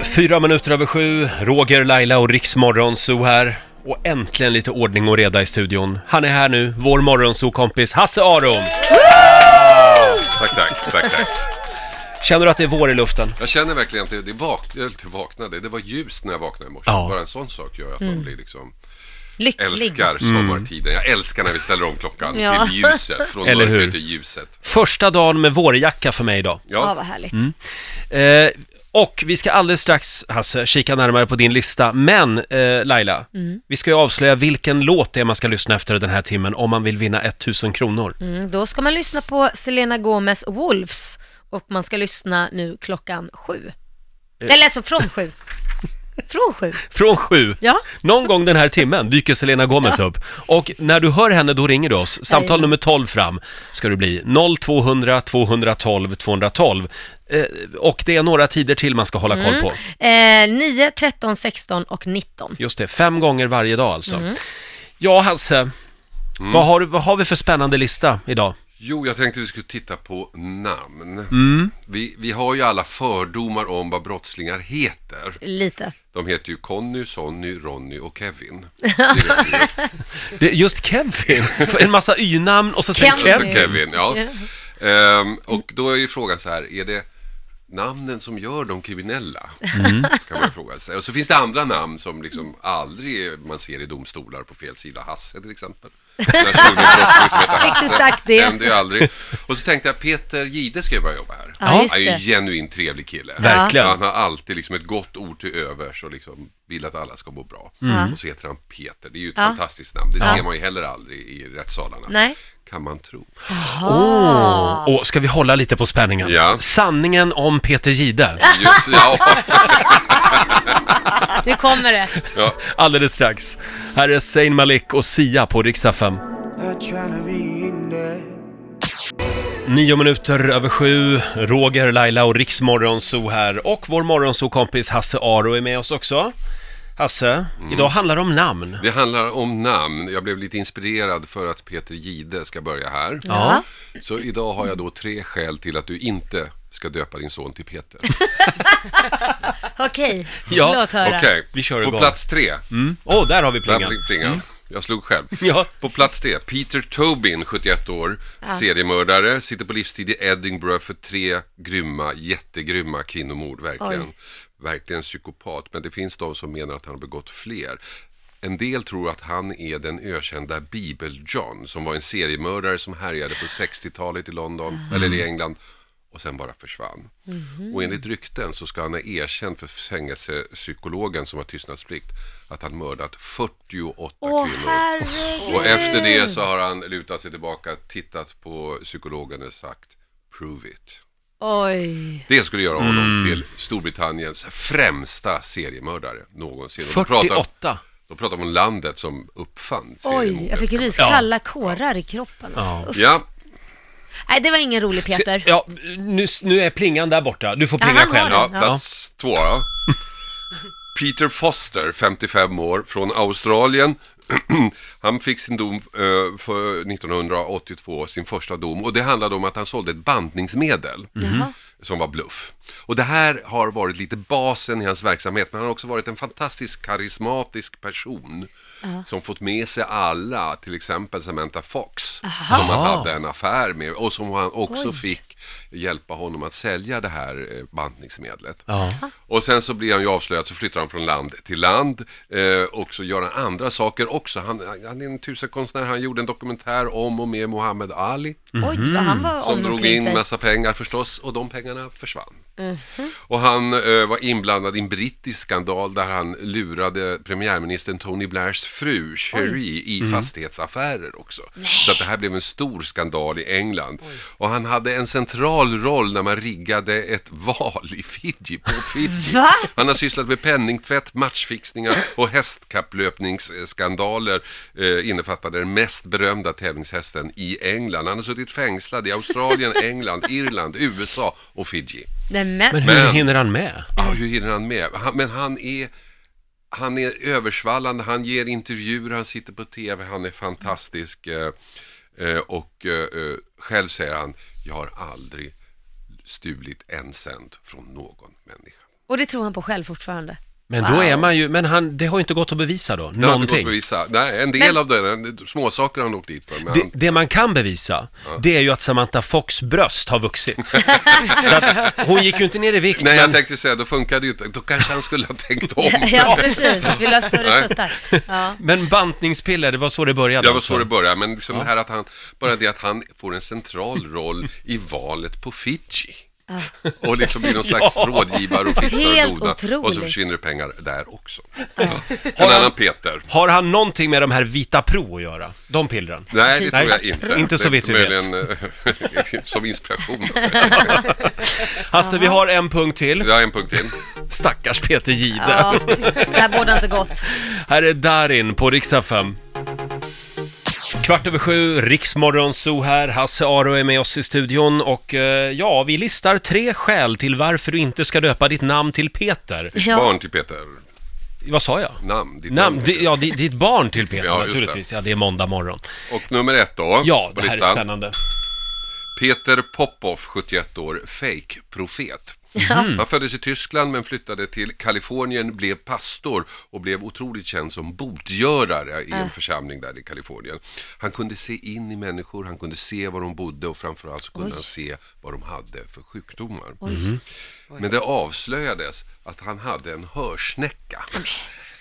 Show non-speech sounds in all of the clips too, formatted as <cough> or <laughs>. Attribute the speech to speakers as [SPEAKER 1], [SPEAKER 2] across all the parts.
[SPEAKER 1] Fyra minuter över sju, Roger, Laila och Riksmorgon Zoo här. Och äntligen lite ordning och reda i studion. Han är här nu, vår morgonzoo-kompis Hasse Aron.
[SPEAKER 2] Tack, tack, tack, tack.
[SPEAKER 1] Känner du att det är vår i luften?
[SPEAKER 2] Jag känner verkligen att det, det vak- jag lite vaknade. Det var ljust när jag vaknade i morse.
[SPEAKER 1] Ja. Mm.
[SPEAKER 2] Bara en sån sak gör att man blir liksom
[SPEAKER 3] Lycklig.
[SPEAKER 2] älskar sommartiden. Jag älskar när vi ställer om klockan
[SPEAKER 3] Ja.
[SPEAKER 2] till ljuset. Från
[SPEAKER 1] Eller hur?
[SPEAKER 2] mörker till ljuset.
[SPEAKER 1] Första dagen med vårjacka för mig idag.
[SPEAKER 3] Ja,
[SPEAKER 2] Ja,
[SPEAKER 3] vad härligt.
[SPEAKER 1] Eh, och vi ska alldeles strax, Hasse, kika närmare på din lista. Men eh, Laila, vi ska ju avslöja vilken låt det är man ska lyssna efter den här timmen om man vill vinna 1000 kronor.
[SPEAKER 3] Mm, då ska man lyssna på Selena Gomez Wolves och man ska lyssna nu klockan sju.
[SPEAKER 1] Eh.
[SPEAKER 3] Eller alltså från sju. Från sju.
[SPEAKER 1] Från sju.
[SPEAKER 3] Ja.
[SPEAKER 1] Någon gång den här timmen dyker Selena Gomez upp. Och när du hör henne, då ringer du oss. Samtal
[SPEAKER 3] Jajamän.
[SPEAKER 1] nummer 12 fram ska du bli. 0200 212 212. Eh, och det är några tider till man ska hålla koll på.
[SPEAKER 3] Eh, 9, 13, 16 och 19.
[SPEAKER 1] Just det, fem gånger varje dag alltså.
[SPEAKER 3] Mm.
[SPEAKER 1] Ja, Hasse. Vad, har, du- vad har vi för spännande lista idag?
[SPEAKER 2] jo, jag tänkte vi skulle titta på namn.
[SPEAKER 1] Mm.
[SPEAKER 2] Vi, vi har ju alla fördomar om vad brottslingar heter.
[SPEAKER 3] Lite.
[SPEAKER 2] De heter ju Conny, Sonny, Ronny och Kevin. Det är ju-
[SPEAKER 1] Det, just Kevin. En massa y-namn och så sen Kevin.
[SPEAKER 2] Alltså
[SPEAKER 3] Kevin.
[SPEAKER 2] Kevin, ja.
[SPEAKER 3] Ja.
[SPEAKER 2] Ehm, och då är ju frågan så här, är det namnen som gör dem kriminella? Kan man fråga sig. Och så finns det andra namn som liksom aldrig man ser i domstolar på fel sida. Hasse till exempel. Den här personen som heter Hasse.
[SPEAKER 3] Riktigt sagt det.
[SPEAKER 2] Händer ju aldrig. Och så tänkte jag, Peter Gide ska ju börja jobba här.
[SPEAKER 3] Ja, just
[SPEAKER 2] Han är ju en
[SPEAKER 3] det.
[SPEAKER 2] genuint trevlig kille.
[SPEAKER 1] Verkligen.
[SPEAKER 2] Han har alltid liksom ett gott ord till övers och liksom vill att alla ska må bra. Och så heter han Peter. Det är ju ett
[SPEAKER 3] Ja.
[SPEAKER 2] fantastiskt namn. Det ser man ju heller aldrig i rättssalarna.
[SPEAKER 3] Nej.
[SPEAKER 2] Kan man tro.
[SPEAKER 1] Åh, Och ska vi hålla lite på spänningen?
[SPEAKER 2] Ja.
[SPEAKER 1] Sanningen om Peter Gide.
[SPEAKER 2] Just, ja, <laughs>
[SPEAKER 3] Nu kommer det.
[SPEAKER 2] ja.
[SPEAKER 1] Alldeles strax. Här är Zayn Malik och Sia på riksdag 5.
[SPEAKER 4] Not tryna be in there.
[SPEAKER 1] Nio minuter över sju, Roger, Laila och Riksmorgonso här. Och vår morgonso-kompis Hasse Aro är med oss också. Hasse,
[SPEAKER 2] Mm.
[SPEAKER 1] idag handlar det om namn.
[SPEAKER 2] Det handlar om namn. Jag blev lite inspirerad för att Peter Gide ska börja här.
[SPEAKER 1] Ja.
[SPEAKER 2] Så idag har jag då tre skäl till att du inte ska döpa din son till Peter.
[SPEAKER 3] Okej,
[SPEAKER 1] Ja,
[SPEAKER 3] låt höra.
[SPEAKER 2] Okej,
[SPEAKER 1] Vi kör
[SPEAKER 2] på
[SPEAKER 1] igång.
[SPEAKER 2] plats tre.
[SPEAKER 1] Åh, där har vi
[SPEAKER 2] Där
[SPEAKER 1] plingan. Mm.
[SPEAKER 2] pling- plingar. Jag slog själv.
[SPEAKER 1] Ja.
[SPEAKER 2] På plats tre, Peter Tobin, 71 år, seriemördare, sitter på livstid i Edinburgh för tre grymma, jättegrymma kvinnomord, verkligen.
[SPEAKER 3] Oj.
[SPEAKER 2] Verkligen psykopat, men det finns de som menar att han har begått fler. En del tror att han är den ökända Bibel-John, som var en seriemördare som härjade på 60-talet i London, eller i England, och sen bara försvann.
[SPEAKER 3] Mm.
[SPEAKER 2] Och enligt rykten så ska han ha erkänt för fängelsepsykologen som har tystnadsplikt att han mördat 48
[SPEAKER 3] Åh
[SPEAKER 2] kvinnor.
[SPEAKER 3] herregud.
[SPEAKER 2] Och efter det så har han lutat sig tillbaka, tittat på psykologen och sagt Prove it.
[SPEAKER 3] Oj.
[SPEAKER 2] Det skulle göra honom
[SPEAKER 3] Mm.
[SPEAKER 2] till Storbritanniens främsta seriemördare någonsin. Och Då pratar,
[SPEAKER 1] 48.
[SPEAKER 2] då pratar man om landet som uppfann
[SPEAKER 3] Oj,
[SPEAKER 2] seriemordet.
[SPEAKER 3] jag fick riskalla kårar i kroppen alltså. Uff.
[SPEAKER 2] Ja,
[SPEAKER 3] Nej, det var ingen rolig Peter.
[SPEAKER 1] Ja, nu, nu är plingan där borta. Du får
[SPEAKER 3] Ja,
[SPEAKER 1] plinga
[SPEAKER 3] han har
[SPEAKER 1] själv.
[SPEAKER 3] den.
[SPEAKER 2] ja
[SPEAKER 3] Ja.
[SPEAKER 2] plats två då. <laughs> Peter Foster, 55 år, från Australien. <clears throat> Han fick sin dom eh, för 1982, sin första dom. Och det handlade om att han sålde ett bantningsmedel.
[SPEAKER 3] Jaha.
[SPEAKER 2] som var bluff. Och det här har varit lite basen i hans verksamhet, men han har också varit en fantastisk karismatisk person som fått med sig alla, till exempel Samantha Fox, som han hade en affär med och som han också
[SPEAKER 3] Oj.
[SPEAKER 2] fick hjälpa honom att sälja det här eh, bantningsmedlet.
[SPEAKER 1] Ja.
[SPEAKER 2] Och sen så blir han ju avslöjad, så flyttar han från land till land eh, och så gör han andra saker också. Han, han är en tusenkonstnär, han gjorde en dokumentär om och med Muhammad Ali
[SPEAKER 1] Mm-hmm.
[SPEAKER 3] Oj, vad han var
[SPEAKER 2] Mm-hmm. som
[SPEAKER 3] om
[SPEAKER 2] drog
[SPEAKER 3] omkring
[SPEAKER 2] in
[SPEAKER 3] sig.
[SPEAKER 2] massa pengar förstås och de pengarna försvann. Och han eh, var inblandad i en brittisk skandal där han lurade premiärministern Tony Blairs fru Cherie i fastighetsaffärer också. Så att det här blev en stor skandal i England. Och han hade en central roll när man riggade ett <laughs> val i Fiji, på Fiji.
[SPEAKER 3] Va?
[SPEAKER 2] Han har sysslat med penningtvätt, matchfixningar och hästkapplöpningsskandaler eh, innefattande den mest berömda tävlingshästen i England. Han har suttit fängslad i Australien, England, Irland, USA och Fiji.
[SPEAKER 3] Nej,
[SPEAKER 1] Men
[SPEAKER 3] men...
[SPEAKER 1] hur
[SPEAKER 2] Men-
[SPEAKER 1] hinner han med?
[SPEAKER 2] Ja, hur hinner han med? Han, men han är, han är översvallande, han ger intervjuer, han sitter på tv, han är fantastisk. Eh, eh, och eh, eh, själv säger han, jag har aldrig stulit en cent från någon människa.
[SPEAKER 3] Och det tror han på själv fortfarande.
[SPEAKER 1] Men då
[SPEAKER 3] Wow.
[SPEAKER 1] är man ju, men han, det har ju inte gått att bevisa då,
[SPEAKER 2] Det har inte gått att
[SPEAKER 1] någonting.
[SPEAKER 2] bevisa. Nej, en del
[SPEAKER 3] Men-
[SPEAKER 2] av den, småsaker har han åkt dit för. Men
[SPEAKER 1] Det,
[SPEAKER 2] han,
[SPEAKER 1] det man kan bevisa, det är ju att Samantha Fox bröst har
[SPEAKER 2] <laughs>
[SPEAKER 1] vuxit. Så att, hon gick ju inte ner i vikt,
[SPEAKER 2] nej, jag
[SPEAKER 1] men
[SPEAKER 2] tänkte säga, då funkade ju inte. Då kanske han skulle ha tänkt om.
[SPEAKER 3] <laughs> <laughs> Ja, precis. Vill du ha större
[SPEAKER 2] Nej.
[SPEAKER 3] tuttar?
[SPEAKER 2] <laughs>
[SPEAKER 3] Ja.
[SPEAKER 1] Men bantningspiller, det var så det började
[SPEAKER 2] Det var
[SPEAKER 1] alltså.
[SPEAKER 2] så det började, men liksom det här att han, bara det att han får en central roll i valet på Fiji. Och
[SPEAKER 1] <laughs>
[SPEAKER 2] liksom blir någon slags
[SPEAKER 1] Ah. Ja.
[SPEAKER 2] rådgivare och fixar
[SPEAKER 3] Helt
[SPEAKER 2] och donar. Och så
[SPEAKER 3] otroligt.
[SPEAKER 2] försvinner det pengar där också.
[SPEAKER 1] Ah.
[SPEAKER 2] Ja. En annan Peter.
[SPEAKER 1] Har han någonting med de här Vita Pro att göra? De pillren?
[SPEAKER 2] Nej, det
[SPEAKER 1] Nej,
[SPEAKER 2] tror jag inte.
[SPEAKER 1] inte så
[SPEAKER 2] Det är
[SPEAKER 1] vitt vi vet.
[SPEAKER 2] möjligen, eh, <laughs>
[SPEAKER 1] <laughs>
[SPEAKER 2] som inspiration.
[SPEAKER 1] Hasse, vi har en punkt till.
[SPEAKER 2] Jag har en punkt till.
[SPEAKER 1] Stackars Peter Jihde.
[SPEAKER 3] ja, det här bådar inte gott.
[SPEAKER 1] Här är Darin på riksdag 5. Kvart över sju, Riksmorgon Zoo här. Hasse Aro är med oss i studion och eh, ja, vi listar tre skäl till varför du inte ska döpa ditt namn till Peter.
[SPEAKER 2] Ditt
[SPEAKER 3] Ja.
[SPEAKER 2] barn till Peter.
[SPEAKER 1] Vad sa jag?
[SPEAKER 2] Namn. Ditt
[SPEAKER 1] Namn,
[SPEAKER 2] namn.
[SPEAKER 1] di, ja, di, ditt barn till Peter
[SPEAKER 2] Ja, just
[SPEAKER 1] naturligtvis. Ja, det är måndag morgon.
[SPEAKER 2] Och nummer ett då,
[SPEAKER 1] Ja,
[SPEAKER 2] på
[SPEAKER 1] det här är
[SPEAKER 2] listan.
[SPEAKER 1] spännande.
[SPEAKER 2] Peter Popoff, 71 år, fake-profet. Han föddes i Tyskland men flyttade till Kalifornien, blev pastor och blev otroligt känd som botgörare i en församling där i Kalifornien. Han kunde se in i människor, han kunde se var de bodde och framförallt så kunde han se vad de hade för sjukdomar. Men det avslöjades att han hade en hörsnäcka.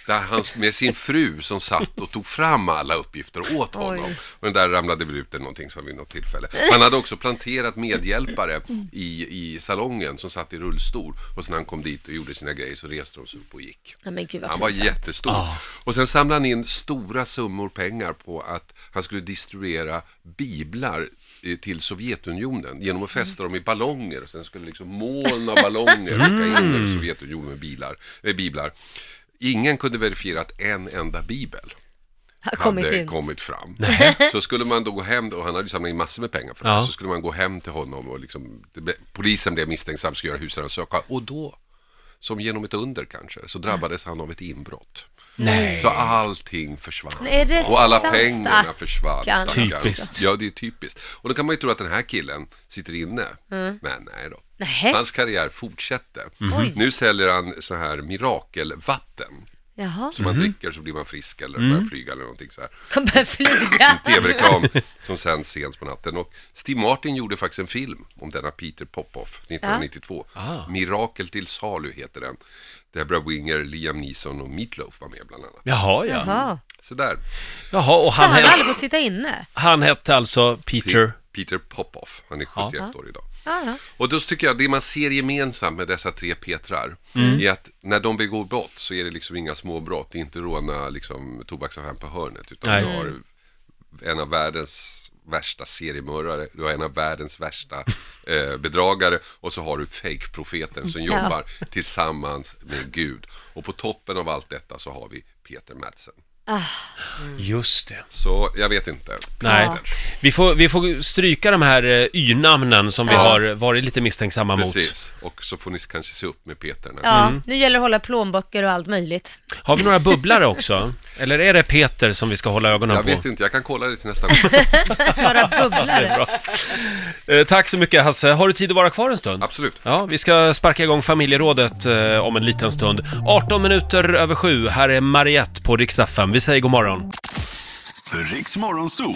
[SPEAKER 2] Där han med sin fru som satt och tog fram alla uppgifter åt honom.
[SPEAKER 3] Oj.
[SPEAKER 2] Och den där ramlade väl ut eller någonting som vid något tillfälle. Han hade också planterat medhjälpare i, i salongen som satt i rullstol. Och sen när han kom dit och gjorde sina grejer så reste de sig upp och gick.
[SPEAKER 3] Nej, men gud vad
[SPEAKER 2] Han var
[SPEAKER 3] pinsamt.
[SPEAKER 2] jättestor. Och sen samlade han in stora summor pengar på att han skulle distribuera biblar eh, till Sovjetunionen genom att fästa dem i ballonger. Och sen skulle liksom moln av ballonger åka in över Sovjetunionen med bilar, eh, biblar. Ingen kunde verifiera att en enda bibel
[SPEAKER 3] Har kommit
[SPEAKER 2] hade
[SPEAKER 3] in.
[SPEAKER 2] kommit fram. <laughs> Så skulle man då gå hem, och han hade ju samlat in massor med pengar för det,
[SPEAKER 1] Ja.
[SPEAKER 2] så skulle man gå hem till honom och liksom, det, ble- polisen blev misstänksam, skulle göra husrannsakan och då, som genom ett under kanske, så drabbades han av ett inbrott. Så allting försvann.
[SPEAKER 3] Nej, är det
[SPEAKER 2] och alla
[SPEAKER 3] sant,
[SPEAKER 2] pengarna
[SPEAKER 3] stackarn?
[SPEAKER 2] försvann. stackarn.
[SPEAKER 1] Typiskt.
[SPEAKER 2] Ja, det är typiskt. Och då kan man ju tro att den här killen sitter inne. Men nej då.
[SPEAKER 3] Mm. Nej.
[SPEAKER 2] Hans karriär fortsätter.
[SPEAKER 3] Oj.
[SPEAKER 2] Nu säljer han så här mirakelvatten.
[SPEAKER 3] Jaha,
[SPEAKER 2] Som man dricker så blir man frisk eller börjar flyga eller någonting så här.
[SPEAKER 3] kommer flyga.
[SPEAKER 2] Tv-reklam som sänds sent på natten. Och Steve Martin gjorde faktiskt en film om denna Peter Popoff 1992. Mirakel till salu heter den. Debra Winger, Liam Neeson och Meatloaf var med bland annat.
[SPEAKER 1] Jaha, ja. Jaha,
[SPEAKER 3] Jaha.
[SPEAKER 2] Sådär.
[SPEAKER 1] och
[SPEAKER 3] Så
[SPEAKER 1] han,
[SPEAKER 3] han har
[SPEAKER 1] het,
[SPEAKER 3] aldrig fått sitta inne?
[SPEAKER 1] han hette alltså Peter.
[SPEAKER 2] Peter Popoff. Han är 71 år idag.
[SPEAKER 3] Ja, ja.
[SPEAKER 2] Och då tycker jag det man ser gemensamt med dessa tre Petrar är att när de begår brott så är det liksom inga små brott. Det är inte råna liksom, tobaksaffären på hörnet utan
[SPEAKER 1] Nej.
[SPEAKER 2] du har en av världens värsta seriemördare, du har en av världens värsta eh, bedragare och så har du fake-profeten som
[SPEAKER 3] Ja.
[SPEAKER 2] jobbar tillsammans med Gud. Och på toppen av allt detta så har vi Peter Madsen.
[SPEAKER 1] Just det.
[SPEAKER 2] Så jag vet inte.
[SPEAKER 1] Nej.
[SPEAKER 3] Ja.
[SPEAKER 1] Vi, får, vi får stryka de här eh, y-namnen som vi
[SPEAKER 2] Ja.
[SPEAKER 1] har varit lite misstänksamma mot.
[SPEAKER 2] Precis. Och så får ni kanske se upp med Peter. När
[SPEAKER 3] Ja, nu gäller det att hålla plånböcker och allt möjligt.
[SPEAKER 1] Har vi några bubblare också? Eller är det Peter som vi ska hålla ögonen
[SPEAKER 2] Jag
[SPEAKER 1] på?
[SPEAKER 2] vet inte, jag kan kolla det till nästa gång. <laughs>
[SPEAKER 3] Några bubblare.
[SPEAKER 1] Eh, tack så mycket Hasse. Har du tid att vara kvar en stund?
[SPEAKER 2] Absolut.
[SPEAKER 1] Ja, vi ska sparka igång familjerådet eh, om en liten stund. 18 minuter över sju. Här är Mariette på Rix FM. Vi säger god morgon.
[SPEAKER 5] Riks Morgonzoo.